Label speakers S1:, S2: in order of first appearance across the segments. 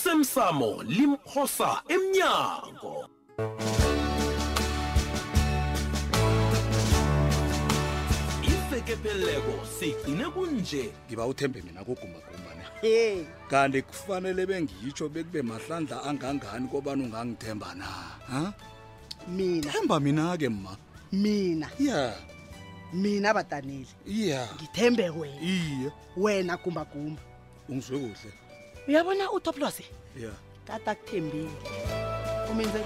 S1: osemsamo limphosa emnyango iveke peleleko sigcine kunje
S2: ngiba uthembe mina kugumbagumba ne
S3: hey
S2: kanti kufanele bengiyitsho bekube mahlandla angangani kobani ungangithemba na ha
S3: mina
S2: themba mina-ke ma
S3: mina
S2: ya
S3: mina badanile
S2: ya
S3: ngithembe wena
S2: iye
S3: wena gumbagumba
S2: ungizwe kuhle
S3: uyabona utoplose
S2: ya
S3: tata kuthembile umenze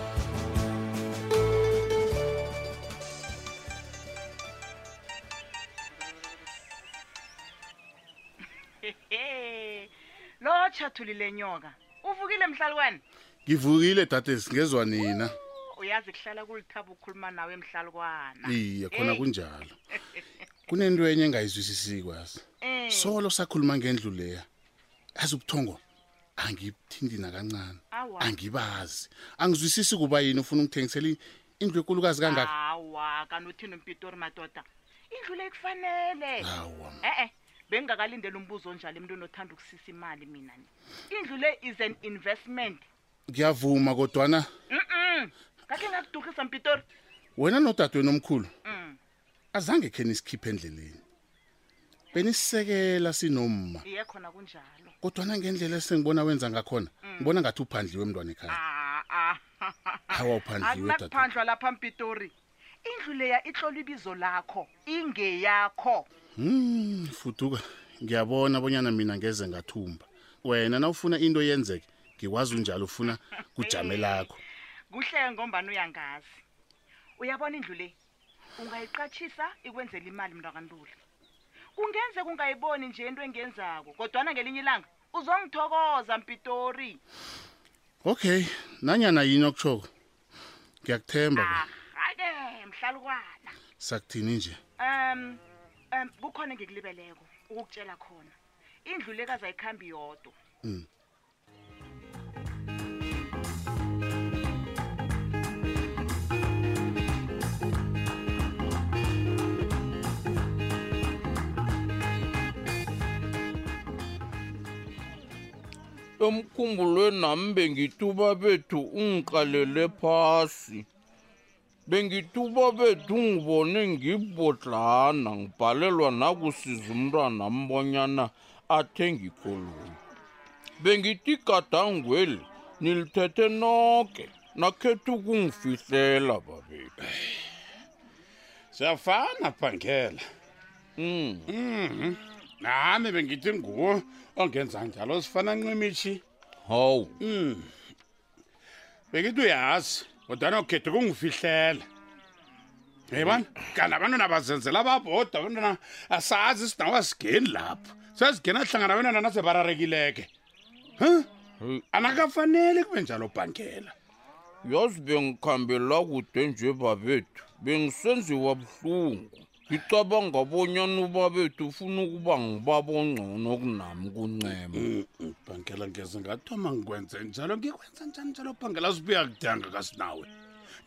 S4: lo tshathulile nyoka uvukile mhlalukwane
S5: ngivukile dade singezwa nina
S4: uyazi kuhlala kulithaba ukukhuluma nawe mhlalukwana
S5: iye khona
S4: Hey.
S5: kunjalo kunento enye engayizwisisikwasi
S4: Eh.
S5: solo sakhuluma ngendlu leya azi ubuthongo angibuthindi nakancane
S4: Awa.
S5: angibazi angizwisisi kuba yini ufuna ungithengisela i- indlu enkulukazi kangaka
S4: hawa kanothini umpitori madoda indlu le kufanele
S5: hawa
S4: e-e bengingakalindeli umbuzo onjalo emntwini othanda ukusisa imali mina ni indlu le is an investment
S5: ngiyavuma kodwana
S4: mm ngakhe ngakudukhisa mpitori
S5: wena nodadweni omkhulu
S4: Mm.
S5: azange khe nisikhiphe endleleni benisisekela sinoma
S4: iye khona kunjalo
S5: kodwana ngendlela esengibona wenza ngakhona ngibona ngathi uphandliwe emntwana ekhaya
S4: aa
S5: hawa uphandliwe dade
S4: akunakuphandlwa Ah, lapha mpitori indlu leya itlola ibizo lakho ingeyakho
S5: Hmm, fuduka ngiyabona bonyana mina ngeze ngathumba wena nawufuna into yenzeke ngikwazi unjalo ufuna kujame lakho
S4: kuhle ngombani uyangazi uyabona indlu le ungayiqatshisa ikwenzela imali mntakantula kungenze kungayiboni nje into engenzako kodwana ngelinye ilanga uzongithokoza mpitori
S5: okay nanyana yini okushoko ngiyakuthemba bo.
S4: ahake mhlalukwana
S5: sakuthini nje
S4: um um kukhona engikulibeleko ukukutshela khona indlu lekazi ayikhambi yodwa
S6: emkhumbulwe nami bengituba bethu ungiqalele phasi bengituba bethu ngibone ngibhodlana ngibhalelwa nakusiza umntwana mbonyana athenge ikoloni bengithi gadangweli nilithethe noke nakhetha ukungifihlela babethu
S5: siyafana bhangela
S6: mm.
S5: Mm-hmm. nami bengithi nguwo ongenza njalo sifana ncimishi
S6: hawu
S5: Mm. bengithi uyazi kodwana ukhethe kungifihlela yeyibona kanti abantwana bazenzela babhoda abantwana asazi isinawazigeni lapho sezigena hlangana abantwana nasebararekileke Huh?
S6: Hey.
S5: anakafaneli kube njalo bhangela
S6: yazi bengikhambela kude nje babethu bengisenziwa buhlungu ngicabanga bonyana ubabethu ufuna ukuba ngibaba ongcono kunami kuncema
S5: bhangela ngeze ngathoma ngikwenze njalo ngikwenza njani njalo bhangela sibuya kudanga kasinawe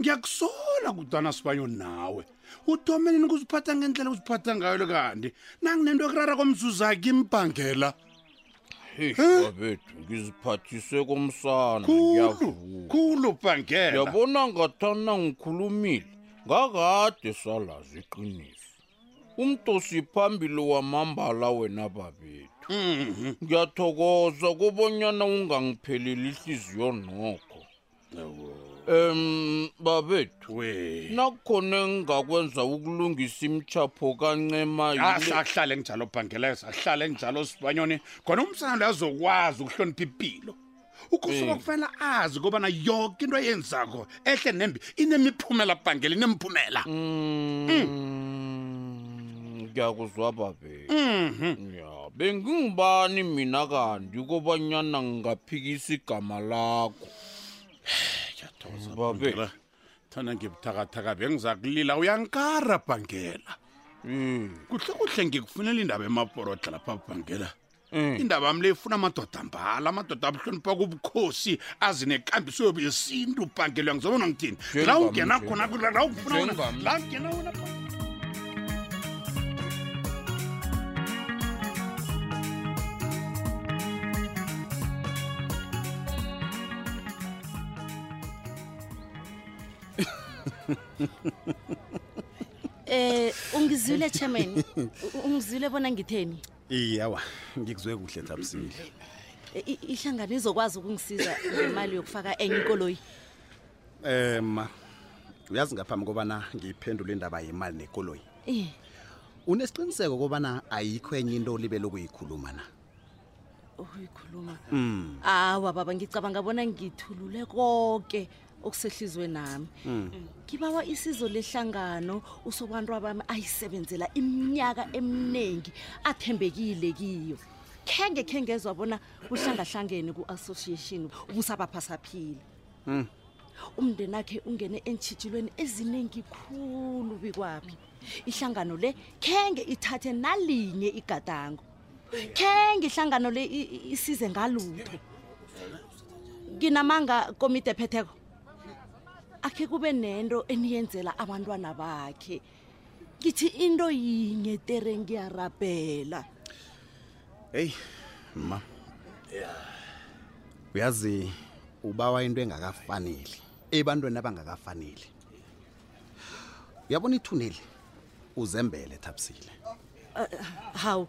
S5: ngiyakusola kudwana sibanyo nawe uthomenini kuziphatha ngendlela kuziphatha ngayo le kanti nanginento yokurara komzuzaki imbhangela
S6: heyi
S5: Eh?
S6: babethu ngiziphathise komsana
S5: khulu
S6: ngiyavuka
S5: khulu bhangela
S6: yabona ngathana ngikhulumile ngakade salazi iqiniso umdosi phambili wamambala wena babethu
S5: Mhm.
S6: ngiyathokoza kobonyana ungangipheleli ihliziyo nokho em babethu
S5: we
S6: nakhona engingakwenza ukulungisa imchapho kancema yile-
S5: ahlale Ah, njalo bhangela ahlale njalo sibanyoni khona umsana lo azokwazi ukuhlonipha impilo ukusuka kufanele azi kobana yonke into eyenzako ehle nembi inemiphumela bhangela inemphumela
S6: Mm, ngiyakuzwa babethu
S5: Mhm.
S6: ya bengingubani mina kanti kobanyana ngingaphikisa igama lakho
S5: Ngiyathokoza,
S6: Babe.
S5: Bhangela. thana ngibuthakathaka bengiza kulila uyankara bhangela
S6: Mm,
S5: kuhle kuhle ngikufunela indaba emaporodla lapha bhangela
S6: mm.
S5: indaba yami le ifuna amadoda mbala amadoda abuhlonipha kubukhosi azinekambiso yobu yesintu bhangelwa ngizobona ngithini la
S6: Jengami,
S5: ungena khona
S6: jengami.
S5: la ukufuna wena
S6: Jengami.
S5: la ungena wena
S7: Eh ungizwile chairman. U- Ungizwile bona ngitheni?
S8: iyawa ngikuzwe kuhle thabisile
S7: Eh, i- Ihlangano izokwazi ukungisiza ngemali yokufaka enye ikoloyi.
S8: um uyazi ngaphambi kobana ngiyiphendule indaba yemali nekoloyi
S7: Eh,
S8: unesiqiniseko kobana ayikho enye into libe lokuyikhuluma na Hmm,
S7: uyikhuluma. Awa baba ngicabanga bona ngithulule konke okusehlizwe nami. Ngibawa isizo lehlangano usobantwa bami ayisebenzela iminyaka eminingi athembekile kiyo. Kenge kengezwa bona kuhlangahlangene ku-association ubusabaphasaphile.
S9: Hmm.
S7: umndeni wakhe ungene entshitshilweni eziningi khulu bikwaphi ihlangano le khenge ithathe nalinye igadango khenge ihlangano le i- i- isize ngalutho nginamanga komide ephetheko akhe kube nento eniyenzela abantwana bakhe ngithi into yinye tere ngiyarabhela
S8: heyi ma uyazi ubawa into engakafaneli ebantwini abangakafaneli uyabona ithuneli uzembele thabisile
S7: hawu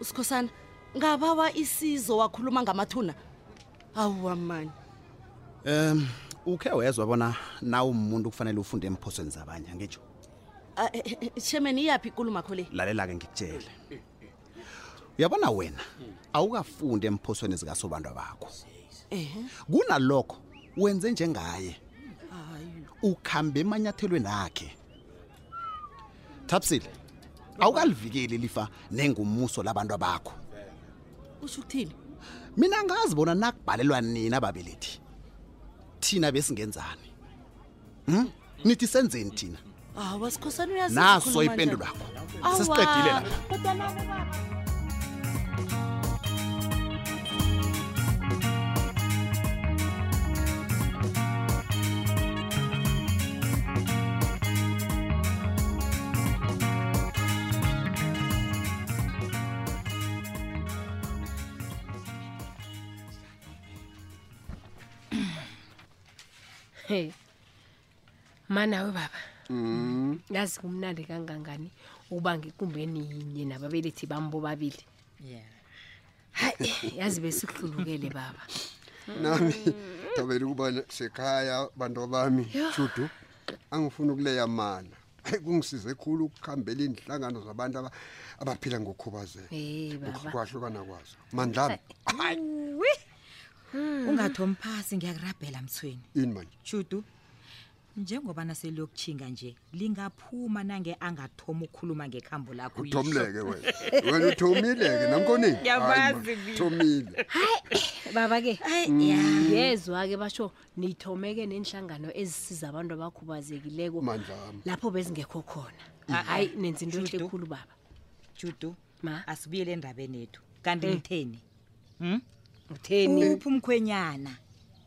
S7: usikhosana ngabawa isizo wakhuluma ngamathuna awuwa mani
S8: um ukhe wezwa bona nawe umuntu kufanele ufunde emphosweni zabanye angitsho
S7: Ah, eh, eh, eh, chairman iyaphi ikulumakho le
S8: lalela-ke ngikutshele uyabona wena awukafundi emphosweni zikasobantwa bakho
S7: ehe
S8: kunalokho wenze njengaye
S7: hayi
S8: ukhambe emanyathelweni akhe thabisile awukalivikeli lifa nengumuso labantu bakho
S7: usho ukuthini
S8: mina ngazi bona nakubhalelwa nina ababelethi thina besingenzani hm? nithi senzeni thina
S7: hawa sikhosana uyazi
S8: naso
S7: ukukhuluma njani.
S8: ipendulo yakho
S7: Awa,
S8: sesiqedile lapha
S7: kodwa nabo baba-
S10: Hey. Manawe baba. Mhm. Yazi kumnandi kangangani ukuba ngikumbeni yinye nababelethi bambo babili. Yeah. Hayi, yazi besikuhlulukele baba.
S9: nami thabela ukuba ne- sekhaya bantu bami judu angifuni ukuleya mana Hayi, kungisize khulu ukukhambela iinhlangano zabantu aba- abaphila ngokhubazeka
S10: Hey baba.
S9: ukwahlukana kwazo mandlami
S11: ungathomphasi ngiyakurabhela mthweni
S9: ini manje
S11: judu njengoba naseliyokutshinga nje lingaphuma nange angathoma ukukhuluma ngekhambo lakho yisho.
S9: uthomleke wena wena uthomile-ke namkonini
S11: Ngiyabazi mina.
S9: thomile
S10: Baba ke
S11: Hayi, ya.
S10: ngiyezwa ke basho nithomeke nenhlangano ezisiza abantu abakhubazekileko
S9: mandlami
S10: lapho bezingekho khona.
S11: Ah,
S10: Hayi nenza into enhle
S11: Judu.
S10: khulu baba.
S11: judu
S10: Ma.
S11: asibuyele endabeni yethu kanti ngitheni Hmm?
S10: Utheni?
S11: uphi umkhwenyana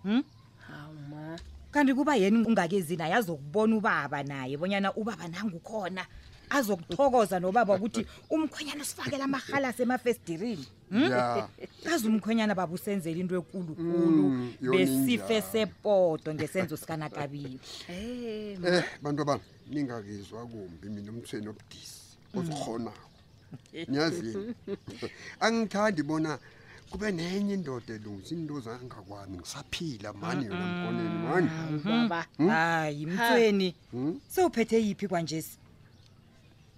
S11: Hmm?
S10: Hawu ma.
S11: kanti kuba yena ungakezi naye azokubona ubaba naye bonyana ubaba nangukhona azokuthokoza nobaba ukuthi umkhwenyana usifakela amahalasi emafestirini
S9: ya
S11: kazi umkhwenyana baba usenzela into ekulukulu
S9: Mm, yona
S11: besife
S9: injalo.
S11: sepoto ngesenzo sikanakabini
S10: Eh,
S9: eh bantu bami ningakizwa kumbi mina umthweni obudisi ozikhonako niyazini angithandi bona kube nenye indoda elungisa into zangakwami ngisaphila mani yona mkoneni mani Hmm?
S10: baba.
S11: hayi mthweni
S9: Mm.
S11: sewuphethe yiphi kwanjesi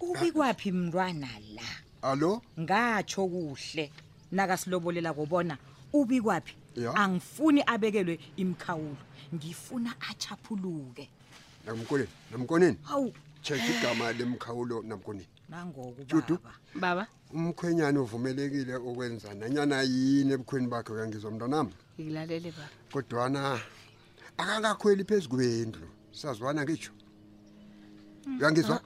S11: ubi kwaphi mntwana la
S9: allo
S11: ngatsho kuhle nakasilobolela kobona ubi kwaphi
S9: Ya.
S11: angifuni abekelwe imikhawulo ngifuna achaphuluke
S9: namkoneni namkoneni
S11: hawu
S9: check igama lemkhawulo namkoneni Judu.
S11: nangokubaba
S10: Baba.
S9: umkhwenyana uvumelekile ukwenza nanyana yini ebukhweni bakhe uyangizwa mntanami
S10: Ngilalele baba.
S9: kodwana akakakhweli phezu kwendlu sazwana ngitsho uyangizwa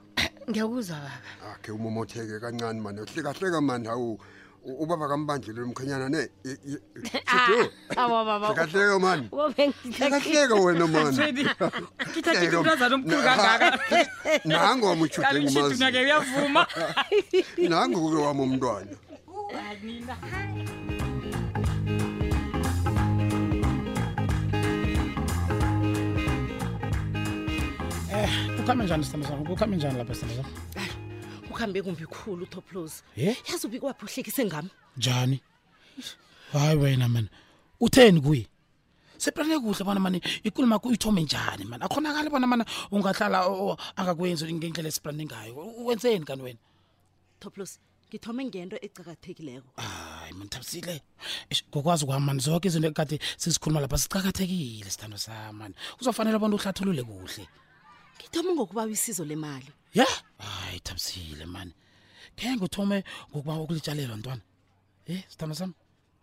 S10: Ngiyakuzwa baba.
S9: akhe umomotheke kancane mani uhlekahleka mani hawu u- ubaba kambandlile umkhwenyana ne I- I-
S11: Ah.
S9: Shudu.
S10: Awa baba.
S9: hlekahleka mani
S10: Wobe
S9: hlekahleka wena mani
S11: ngithathe umntazana omkhulu kangaka
S9: nango wamutshude
S11: kalimshiduna-ke
S9: ngumazi
S11: uyavuma
S9: nango-ke wami umntwana
S12: kuhambe Eh, njani sithando sakho kuhambe njani lapha sithando sakho
S7: ukhambe kumbi khulu utoplos
S12: He?
S7: yazi ubikwaphi uhlekise ngami
S12: njani hayi wena mani utheni kuye seplane kuhle bona mani ikulumo akho uyithome njani mani akhonakali bona mani ungahlala o- o- angakwenzi ngendlela esiplane ngayo U- wenzeni kanti wena
S7: toplos ngithome ngento ecakathekileko
S12: hayi mani thabisile Eish, ngokwazi kwami mani zonke izinto ekade sizikhuluma lapha zicakathekile sithando sam mani kuzofanele bona uhlathulule kuhle
S7: ngithome ngokuba isizo lemali
S12: ye hayi thabisile mani khe nguthome ngokuba ukulitshalelwa ntwana e sithando sam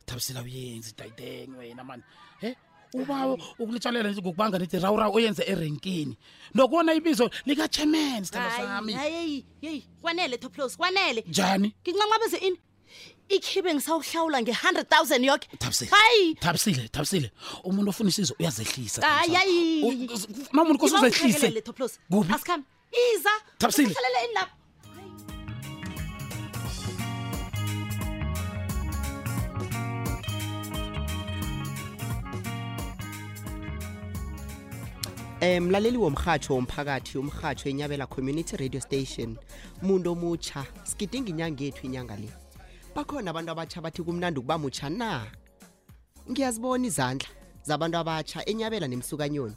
S12: thabisile awuyenzi tayiteng wena mani e ubawo ukulitshalela nje ngokubanga nithi rawurawu oyenze erenkini nokubona ibizo likachairman sithando sami
S7: hayi yeyi kwanele toplos kwanele
S12: njani
S7: nginqanqabeze ini ikhibe ngisawuhlawula nge-hundred thousand yoke
S12: Thabisile.
S7: hayi
S12: thabisile thabisile umuntu ofuna isizo uyazehlisa
S7: hayi hayi
S12: noma umuntu kose
S7: Ngibawuthekelele,
S12: uzehlise
S7: toplos
S12: kuphi
S7: asikhambe iza
S12: Thabisile.
S7: Usahlalela ini lapha
S13: um mlaleli womrhatsho womphakathi umrhatsho enyabela community radio station muntu omutsha sigidinga inyanga yethu inyanga le bakhona abantu abatsha bathi kumnandi ukuba mutsha na ngiyazibona izandla zabantu abatsha enyabela nemsukanyoni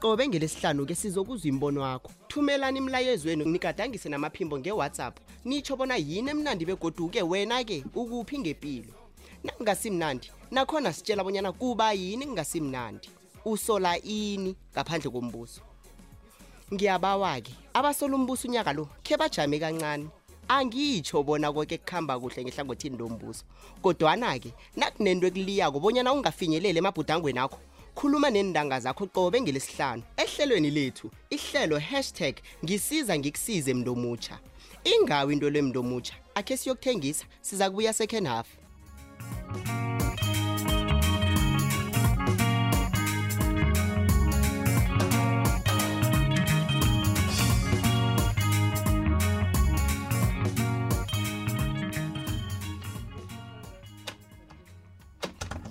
S13: qobe ngelesihlanu ke sizokuzwa imbono wakho thumelani imlayezweni nigadangise namaphimbo ngewhatsapp nitsho bona yini emnandi begoduke wena ke ukuphi ngempilo nangasimnandi nakhona sitshela bonyana kuba yini kungasimnandi usola ini ngaphandle kombuso ngiyabawa-ke abasola umbuso unyaka lo khe bajame kancane angitsho bona koke kuhamba kuhle ngehlangothini lombuso kodwana-ke nakunento ekuliyako bonyana ungafinyeleli emabhudangweni akho khuluma nendanga zakho qobe ngelesihlanu ehlelweni lethu ihlelo hashtag ngisiza ngikusize mntu omutsha ingawo into lwe mntu omutsha akhe siyokuthengisa siza kubuya second half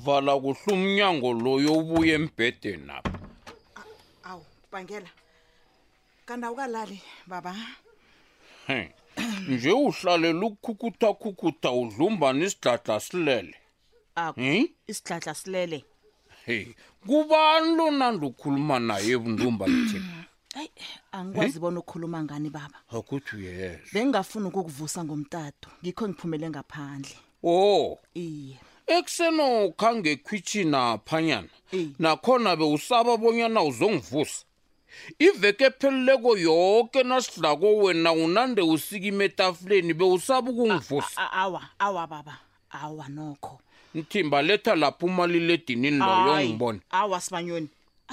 S6: vala kuhle umnyango loyo ubuye embhedeni apha
S4: awu bangela kanti awukalali baba
S6: He. nje uhlalela ukukhukhutha-khukhutha udlumbana isidladla silele Hmm?
S4: isidladla silele
S6: heyi kubani lonandi ukhuluma naye ebundumba nithini
S14: hayi angikwazi bona ukukhuluma ngani baba
S6: akuthi uyeza
S14: bengingafuni ukukuvusa ngomtato ngikho ngiphumele ngaphandle
S6: o iye ekuseni khange khwitshina phanyana nakhona bewusaba bonyana uzongivusa iveke epheleleko yoke nasidlako wena unande usikima etafuleni bewusaba ukungivusa
S14: A- awa awa baba awa nokho
S6: mthimba letha lapho umaliledinini loyo
S14: Hayi,
S6: ngibone
S14: awa sibanyoni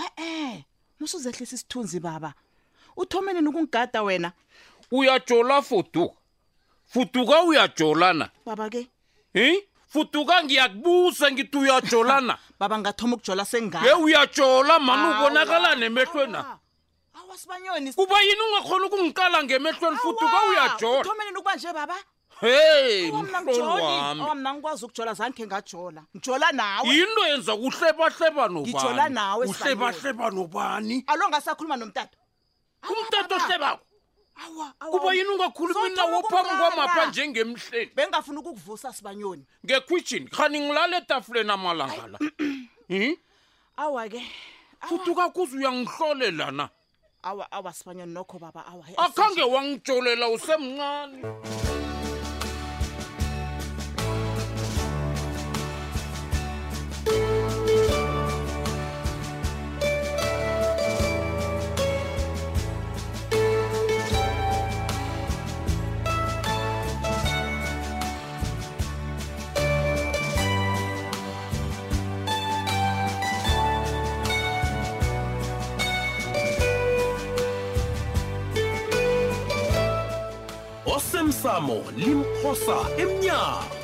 S14: e-e musuzehlisa isithunzi baba uthomeleni ukungigada wena
S6: uyajola fuduka fuduka uyajolana
S14: baba ke
S6: hi fuduka ngiyakubusa ngithi uyajolana
S14: baba ngathoma ukujola
S6: ye
S14: sengane
S6: uyajola mani
S14: Awa.
S6: ubonakala nemehlweni
S14: awa sibanyoni
S6: kuba yini ungakhona ukungiqala ngemehlweni fuduka uyajola
S14: uthomeleni ukuba nje baba
S6: heyi
S14: Awa, mna
S6: mhlolo
S14: ngijoli.
S6: wami
S14: Awa, mna ngikwazi ukujola zangikhe ngajola ngijola nawe
S6: yinto yenza kuhlebahleba
S14: ngijola nawe
S6: nobanihlebahleba nobani
S14: alo ngasakhuluma nomtata
S6: umtata ohlebako
S14: awa
S6: kuba yini ungakhulumi nawo phambi kwamapha njengemhleni
S14: bengingafuni ukukuvusa sibanyoni
S6: ngekhwitshini khani ngilala etafuleni amalanga la Hmm? hi
S14: awa ke
S6: fuduka kuze uyangihlolela na
S14: awa awa sibanyoni nokho baba awa hey,
S6: akhange wangitsholela usemncane
S1: osemsamo limphosa emnyango